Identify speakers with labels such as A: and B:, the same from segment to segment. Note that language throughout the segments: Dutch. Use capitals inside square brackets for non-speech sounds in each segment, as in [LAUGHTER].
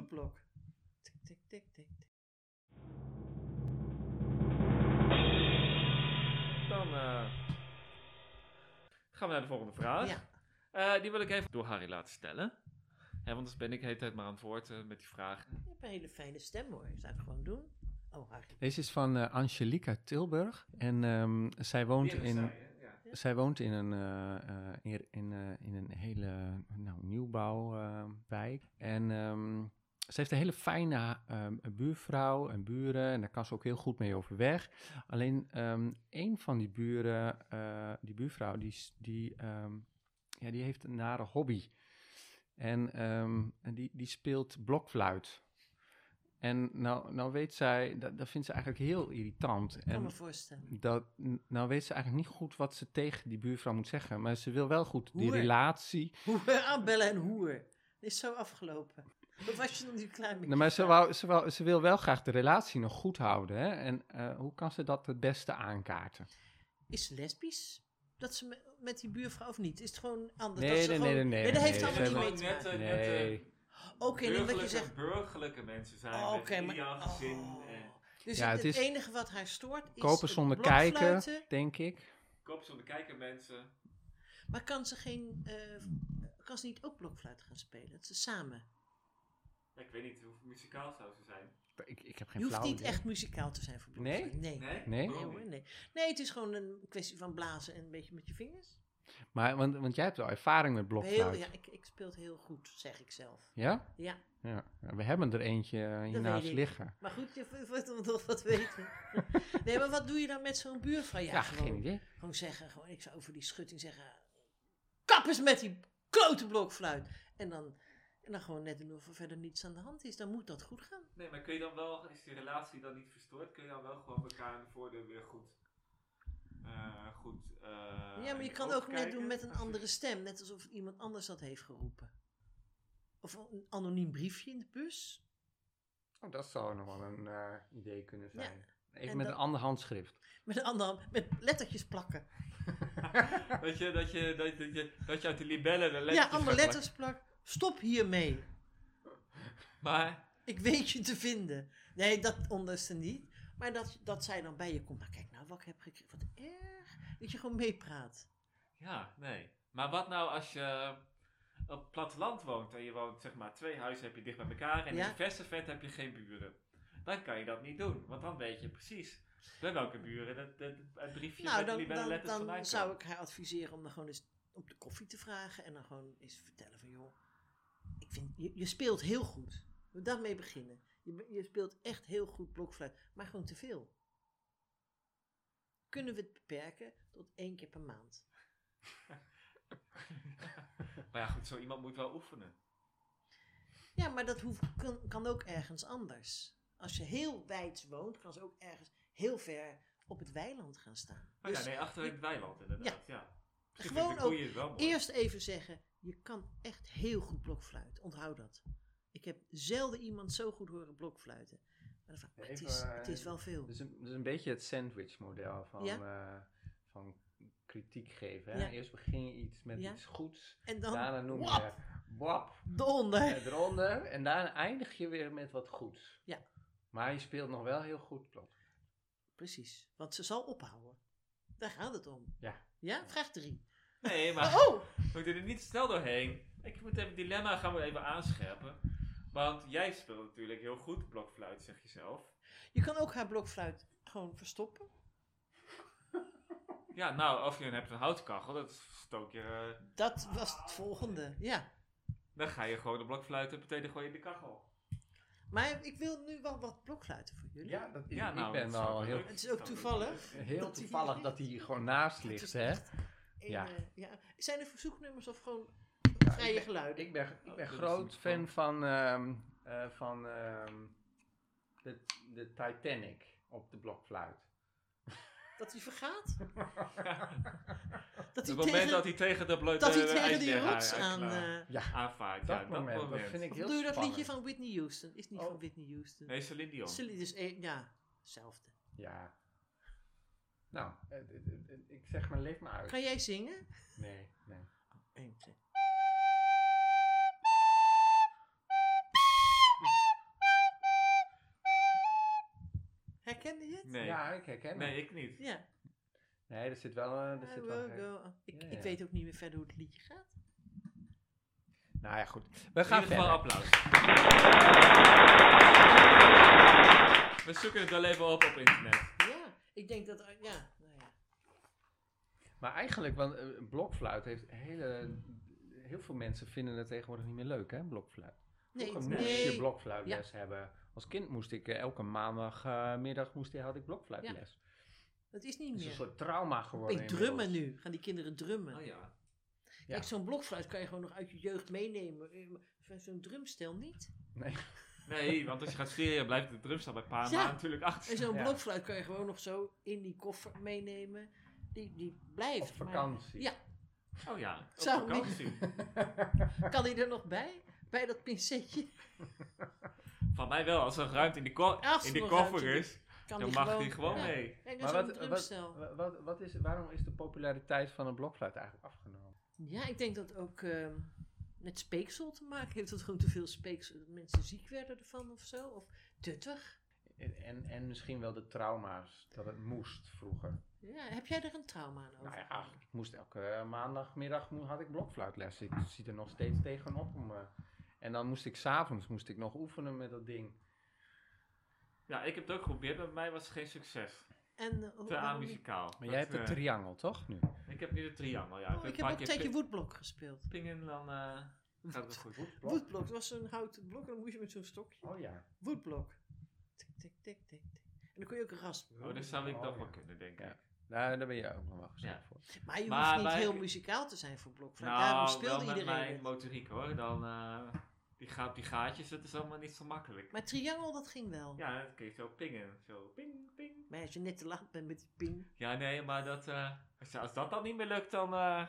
A: klok. Tik, tik, tik, tik, tik.
B: Dan eh, gaan we naar de volgende vraag.
A: Ja.
B: Eh, die wil ik even door Harry laten stellen. Hè, want anders ben ik de hele tijd maar aan het woord eh, met die vraag.
A: Je hebt een hele fijne stem hoor. Je zou het gewoon doen. Oh, Harry.
C: Deze is van eh Angelica Tilburg. En ehm, zij, woont in, zij woont in een, eh, eh, in, in, eh, in een hele nou, nieuwbouwwijk. en ehm, ze heeft een hele fijne ehm, buurvrouw en buren. En daar kan ze ook heel goed mee overweg. Alleen ehm een van die buren, eh, die buurvrouw, die, is- die, ehm, ja, die heeft een nare hobby. En ehm, en die, die speelt blokfluit. En nou, nou weet zij, dat, dat vindt ze eigenlijk heel irritant.
A: Ik kan
C: En
A: me voorstellen.
C: dat, nou weet ze eigenlijk niet goed wat ze tegen die buurvrouw moet zeggen. Maar ze wil wel goed die
A: Hoer.
C: relatie.
A: Hoer, [LAUGHS] aanbellen en hoer. Dat is zo afgelopen. Of was je nog niet klaar mee?
C: Nee, Nou, maar ze, wou, ze, wou, ze wil wel graag de relatie nog goed houden. Hè? En eh, hoe kan ze dat het beste aankaarten?
A: Is ze lesbisch? Dat ze me- met die buurvrouw of niet? Is het gewoon anders?
C: Nee,
A: dat ze
C: nee,
A: gewoon...
C: nee, nee,
A: Dat
C: nee,
A: heeft
C: nee,
A: allemaal
C: ze
A: niet mee
C: hebben-
A: te maken.
B: net,
A: eh,
C: Nee.
A: Oké, dan wat je
B: burgerlijke,
A: zegt.
B: burgerlijke mensen zijn.
A: Oh,
B: met
A: oké,
B: een
A: maar-
B: ideaal
A: oh.
B: gezin. en
A: Dus
C: Ja,
A: het,
C: het is-
A: het enige wat haar stoort is
C: Kopen
A: het
C: zonder kijken,
A: blokfluiten.
C: denk ik.
B: koop zonder kijken mensen.
A: Maar kan ze, geen, eh, kan ze niet ook blokfluit gaan spelen? Dat ze samen.
B: Ja, ik weet niet hoe muzikaal zou ze zijn.
C: Ik, ik heb geen
A: Je hoeft
C: flauw
A: niet
C: idee.
A: echt muzikaal te zijn voor blokfluit. Nee. Nee,
B: Nee?
C: Nee?
B: Waarom
A: hoor,
B: niet?
A: nee. Nee, het is gewoon een kwestie van blazen en een beetje met je vingers.
C: Maar, want, want jij hebt wel ervaring met
A: Heel,
C: blokfluit.
A: ja, ik, ik speel het heel goed, zeg ik zelf.
C: Ja?
A: Ja,
C: Ja. Ja, We hebben er eentje eh, hiernaast
A: weet ik.
C: liggen.
A: maar goed, je v- [LAUGHS] wordt om nog wat
C: [LAUGHS]
A: weten. nee, maar wat doe je dan met zo'n buurvrouw? Ja,
C: Ja,
A: gewoon,
C: geen idee.
A: gewoon zeggen, gewoon, ik zou over die schutting zeggen, kap eens met die klote blokfluit. En dan, en dan gewoon net doen of er verder niets aan de hand is. Dan moet dat goed gaan.
B: Nee, maar kun je dan wel, is die relatie dan niet verstoord? Kun je dan wel gewoon elkaar in de voordeur weer goed. eh, goed eh,
A: ja, maar
B: in
A: je
B: de
A: kan
B: ogen
A: ook net
B: kijken?
A: doen met een
B: Als je-
A: andere stem. Net alsof iemand anders dat heeft geroepen. Of een anoniem briefje in de bus.
C: Oh, dat zou nog wel een eh, idee kunnen
A: Ja.
C: zijn. Even
A: En
C: met
A: dat-
C: een ander handschrift.
A: Met, een ander, met lettertjes plakken.
B: [LAUGHS] Dat je, dat, je, dat, je, dat, je, dat je uit de libellen de letters.
A: ja, allemaal
B: gaat
A: letters plak. Stop hiermee.
B: maken. Maar
A: Ik weet je te vinden. Nee, dat onderste niet. Maar dat, dat zij dan bij je komt. Maar kijk nou wat ik heb gekregen. Wat erg. Dat je gewoon meepraat.
B: Ja, nee. Maar wat nou als je eh, op het platteland woont en je woont zeg maar twee huizen heb je dicht bij elkaar en
A: Ja.
B: in het Vestervet heb je geen buren. Dan kan je dat niet doen, want dan weet je precies bij welke buren dat, dat, het briefje
A: Nou,
B: met
A: dan,
B: die bellen
A: dan,
B: letters vandaan
A: dan zou
B: komen.
A: ik haar adviseren om dan gewoon eens op de koffie te vragen. En dan gewoon eens vertellen van, joh, ik vind, je, je speelt heel goed. We daarmee beginnen. Je, be- je speelt echt heel goed blokfluit, maar gewoon te veel. Kunnen we het beperken tot één keer per maand?
B: Maar ja, goed, zo iemand moet wel oefenen.
A: Ja, maar dat hoeft, kan, kan ook ergens anders. Als je heel wijd woont, kan ze ook ergens heel ver op het weiland gaan staan.
C: Ah,
B: Oh
A: Dus
B: ja, nee, achter het weiland inderdaad. Ja. Misschien
A: Gewoon
B: vinden de
A: ook
B: koeien het wel mooi.
A: Eerst even zeggen, je kan echt heel goed blokfluiten. Onthoud dat. Ik heb zelden iemand zo goed horen blokfluiten. Maar dan vraag ik, maar het,
C: Even,
A: is,
C: eh,
A: het is wel veel.
C: Dus een, dus een beetje het sandwich-model van,
A: Ja.
C: eh, van kritiek geven. Hè?
A: Ja.
C: Eerst begin je iets met
A: Ja.
C: iets goeds.
A: En dan
C: daarna noem je
A: wap,
C: wap
A: eronder.
C: eh, eronder. En daarna eindig je weer met wat goeds.
A: Ja.
C: Maar je speelt nog wel heel goed klopt.
A: Precies, want ze zal ophouden. Daar gaat het om.
C: Ja. Ah.
A: Ja, vraag drie.
B: Nee, maar
A: Oh, oh,
B: we moeten er niet snel doorheen. Ik moet even het dilemma gaan we even aanscherpen. Want jij speelt natuurlijk heel goed blokfluit, zeg je zelf.
A: je kan ook haar blokfluit gewoon verstoppen.
B: Ja, nou, of je hebt een houtkachel, dat stook je. eh,
A: Dat was het volgende, ja.
B: dan ga je gewoon de blokfluiten meteen gooi je in de kachel.
A: Maar ik wil nu wel wat blokfluiten voor jullie.
C: dat
B: Ja, nou,
C: ik ben
B: dat zou
C: wel
B: wel
C: heel,
B: leuk.
A: Het is ook toevallig.
C: heel
A: Dat die-
C: toevallig dat hij hier gewoon naast ligt. Hè?
A: ja.
C: Ja.
A: eh, ja. Zijn er verzoeknummers of gewoon
C: ik
A: vrije
C: ben-
A: geluiden?
C: Ik ben, ik
B: Oh,
C: ben
B: dat is
C: groot
B: niet
C: fan van, ehm, eh, van ehm, de, de Titanic op de blokfluit.
A: Dat hij
C: [LAUGHS]
A: vergaat? dat
B: Het
A: hij
B: moment
A: tegen,
B: dat hij tegen de blote
C: eh,
A: dat hij tegen die
B: ijsberg
A: rots
B: aan-
A: aan...
B: aan-
A: eh
C: Ja,
B: aanvaardt.
C: Ah, dat
B: ja,
C: moment, dat vind ik
A: of
C: heel
A: doe je dat
C: spannend.
A: liedje van Whitney Houston? Is niet
C: Oh.
A: van Whitney Houston.
B: Nee, Celine Dion.
A: Zullen- dus, eh, ja, hetzelfde.
C: Ja. Nou, eh, eh, eh, ik zeg maar, leef maar uit.
A: Kan jij zingen?
C: Nee, nee.
A: Eén, twee. Herkende je het?
B: Nee.
C: Ja, ik herken
B: nee,
C: het.
B: ik niet.
A: Ja.
C: Nee, er zit wel... eh, er
A: I
C: zit wel
A: will
C: een-
A: go on. Ik,
C: Ja,
A: ik
C: ja.
A: weet ook niet meer verder hoe het liedje gaat.
C: Nou ja, goed. We
B: In
C: gaan
B: ieder
C: verder.
B: geval applaus. We zoeken het wel even op op internet.
A: Ja, ik denk dat... Ja, nou ja.
C: Maar eigenlijk, want eh, een blokfluit heeft hele... Heel veel mensen vinden het tegenwoordig niet meer leuk, hè, blokfluit.
A: Nee,
C: Vroeger moest je
A: nee.
C: blokfluitles hebben. Als kind moest ik eh, elke maandagmiddag moest had ik blokfluitles.
A: Dat is niet
C: Het is een
A: meer.
C: soort trauma geworden.
A: Ik drummen
C: inmiddels.
A: nu. Gaan die kinderen drummen.
B: Oh ja.
C: Ja.
A: Kijk, zo'n blokfluit kan je gewoon nog uit je jeugd meenemen. Eh, maar Zo'n drumstel niet.
C: Nee.
B: Nee, want als je gaat studeren blijft de drumstel bij Pama
A: Ja.
B: natuurlijk achter.
A: En zo'n
C: Ja.
A: blokfluit kan je gewoon nog zo in die koffer meenemen. Die, die blijft.
C: Op vakantie.
A: Ja.
B: Oh ja, op
A: Zou niet. [LAUGHS]
B: vakantie.
A: Maar kan die er nog bij? Bij dat
C: [LAUGHS]
A: pincetje?
B: Van mij wel, als er ruimte in de, ko-
A: Als
B: in
A: er
B: de
A: nog
B: koffer
A: ruimte
B: is,
A: Kan
B: dan mag die gewoon
A: ja.
B: mee.
A: En dan
C: Maar
A: zo'n
C: wat, wat,
A: drumstel.
C: wa- wat, wat is, waarom is de populariteit van een blokfluit eigenlijk afgenomen?
A: Ja, ik denk dat ook ehm, met speeksel te maken heeft. Dat gewoon te veel speeksel. dat Mensen ziek werden ervan of zo. Of tuttig.
C: En, en, en misschien wel de trauma's dat het moest vroeger.
A: Ja, heb jij er een trauma aan over?
C: Nou ja, ik moest elke eh, maandagmiddag mo- had ik blokfluitles. Ik zie er nog steeds tegenop. Om, eh, en dan moest ik s'avonds moest ik nog oefenen met dat ding.
B: Ja, ik heb het ook geprobeerd, maar bij mij was het geen succes.
A: en, eh, hoe-
B: Te
A: waarom-
B: amuzikaal.
C: Maar jij hebt de
B: triangel.
C: triangel, toch? Nu?
B: Ik heb nu de triangel, ja.
A: Oh, ik heb ook een tijdje Oh,
B: ping-
A: woodblok gespeeld.
B: pingen, dan eh, gaat het wel goed. Oh,
A: Woodblok, dat was een houten blok en dan moest je met zo'n stokje.
C: Oh ja.
A: Woodblok. Tik, tik, tik, tik, tik. En dan kon je ook raspen.
B: Oh, dat zou ik
C: Oh,
B: nog
C: ja.
B: wel kunnen, denk ik.
C: Ja. Nou, daar ben je ook nog wel gezien
B: Ja.
C: voor.
A: Maar je
B: Maar
A: hoeft niet
B: bij-
A: heel muzikaal te zijn voor blokfluit. Daarom
B: Nou, wel
A: speelde
B: met
A: iedereen
B: mijn
A: het.
B: motoriek hoor. Dan, eh, die, gaat, die gaatjes, dat is allemaal niet zo makkelijk.
A: Maar triangel, dat ging wel.
B: Ja, dat kun je zo pingen. Zo ping, ping.
A: Maar als je net te laat bent met die ping.
B: Ja, nee, maar dat, eh, als, als dat dan niet meer lukt, dan... eh,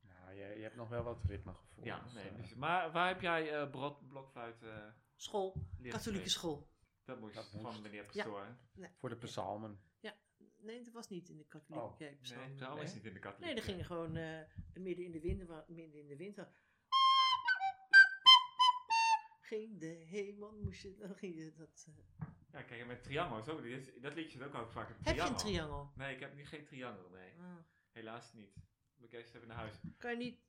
C: Nou, je, je hebt nog wel wat ritmegevoel.
B: ja,
C: dus,
B: nee.
C: eh,
B: dus- maar waar heb jij eh, brod, blokfluit eh leren
A: School, katholieke
B: spelen?
A: school.
B: Dat moest
C: Dat
B: van
C: moest.
B: meneer Pastoor. hè?
C: Voor de psalmen.
A: Nee, dat was niet in de katholieke
C: Oh.
A: kerk. zo.
B: Nee, dat
C: nee.
B: is niet in de katholiek.
A: Nee, er gingen gewoon eh, midden in de winter. Midden in de winter. Ging de hemel, moest je, dan ging je dat. eh,
B: Ja, kijk, met triangels ook. Dit is- Dat liedje is ook al vaak een
A: Heb je
B: triangel.
A: een triangel?
B: Nee, ik heb nu geen triangel, nee.
A: Ah.
B: Helaas niet. Moet ik eerst even naar huis.
A: Kan je niet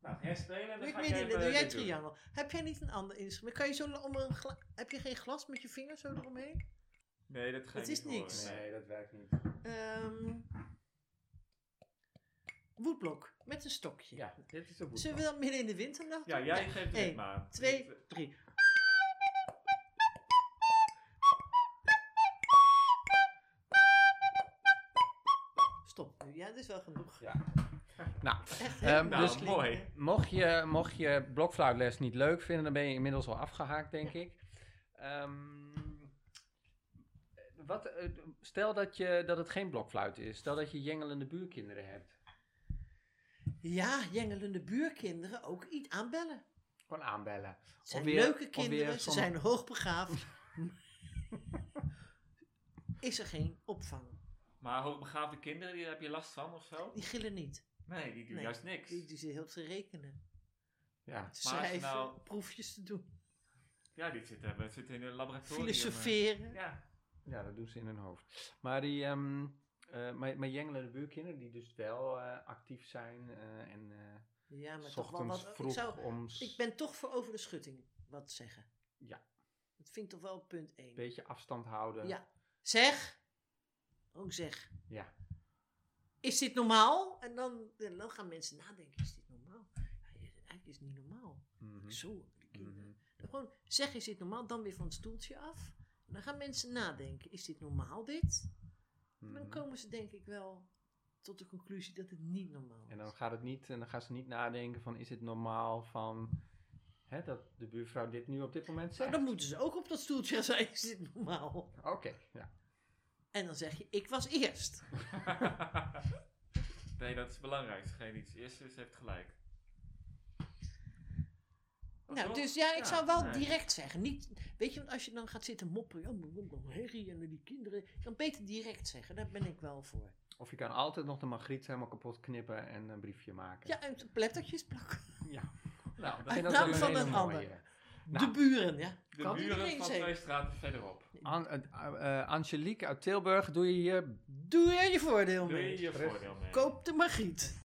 B: Nou, herspelen en dan
A: Doe ik
B: ga ik
A: midden in de-
B: even eh,
A: doe jij
B: dit doen.
A: triangel. Heb jij niet een ander instrument? Kan je zo om een gla- heb je geen glas met je vinger zo eromheen?
B: Nee, dat ga
A: Dat
B: je
A: is
B: niet horen,
A: niks.
B: nee.
C: Nee, dat werkt niet.
A: Ehm woedblok met een stokje.
C: Ja, dit is een goed.
A: Zullen we dat midden in de winter laten?
B: Ja, jij geeft het
A: Eén,
B: ritme aan.
A: Twee,
B: Dit, eh,
A: drie. Stop nu. Ja, dat is wel genoeg.
C: Ja. Nou,
A: Echt
C: Ehm,
A: helemaal
C: dus-
A: klinken.
B: mooi.
C: mocht je, mocht je blokfluitles niet leuk vinden, dan ben je inmiddels al afgehaakt, denk ik. Ehm, wat, eh, stel dat, je, dat het geen blokfluit is. Stel dat je jengelende buurkinderen hebt.
A: Ja, jengelende buurkinderen ook iets aanbellen.
C: Gewoon aanbellen.
A: Het zijn
C: Of weer-
A: leuke
C: of
A: kinderen,
C: weer
A: ze
C: somm-
A: zijn hoogbegaafd. [LAUGHS] is er geen opvang.
B: Maar hoogbegaafde kinderen, die heb je last van of zo?
A: Die gillen niet.
B: Nee, die doen
A: Nee,
B: juist niks.
A: Die, die ze heel te rekenen.
C: Ja.
A: Te
B: Maar als je
A: schrijven,
B: nou-
A: proefjes te doen.
B: Ja, die zitten, we zitten in een laboratorium. eh.
A: Filosoferen.
B: Ja.
C: ja, dat doen ze in hun hoofd. Maar die... ehm, eh, maar, maar jengelende buurkinderen die dus wel eh, actief zijn eh, en eh,
A: Ja, maar
C: s
A: toch wel
C: ochtends
A: wat. Ik,
C: vroeg
A: zou,
C: om
A: ik
C: een
A: ben toch voor over de schutting wat zeggen.
C: Ja.
A: Dat vind ik toch wel punt 1.
C: beetje eh, afstand houden.
A: Ja. Zeg. Ook zeg.
C: Ja.
A: Is dit normaal? En dan, en dan gaan mensen nadenken. Is dit normaal? Ja, eigenlijk is het niet normaal.
C: Mhm.
A: Zo, de kinderen.
C: Mhm.
A: Gewoon zeg, is dit normaal? Dan weer van het stoeltje af. En dan gaan mensen nadenken, is dit normaal dit? En dan
C: Mhm.
A: komen ze denk ik wel tot de conclusie dat het niet normaal is.
C: En dan gaat het niet, en dan gaan ze niet nadenken van is het normaal van hè, dat de buurvrouw dit nu op dit moment
A: Maar
C: zegt.
A: dan moeten ze ook op dat stoeltje [LAUGHS] gaan zijn, is dit normaal?
C: Oké, ja.
A: En dan zeg je, ik was eerst.
B: [LAUGHS] nee, dat is belangrijk. Geen iets. Eerst is heeft gelijk. Oh,
A: nou,
B: toch?
A: dus ja, ik zou wel
B: nee.
A: direct zeggen. Niet, weet je, want als je dan gaat zitten mopperen, ja, maar waarom dan herrie en die kinderen. Dan beter direct zeggen, daar ben ik wel voor.
C: Of je kan altijd nog de Margriet helemaal kapot knippen en een briefje maken.
A: Ja, en plettertjes plakken.
C: Ja. Nou,
A: Uit
C: dat
A: naam
C: is
A: van
C: een hele
A: een
C: mooie.
A: de buren, ja.
B: De
A: kan
B: buren
A: iedereen
B: van
A: zijn.
B: twee straten verderop.
C: An- eh, eh, Angelique uit Tilburg, doe je je
A: Doe er je voordeel
B: Doe
A: mee.
B: je je voordeel mee.
A: Koop de magiet.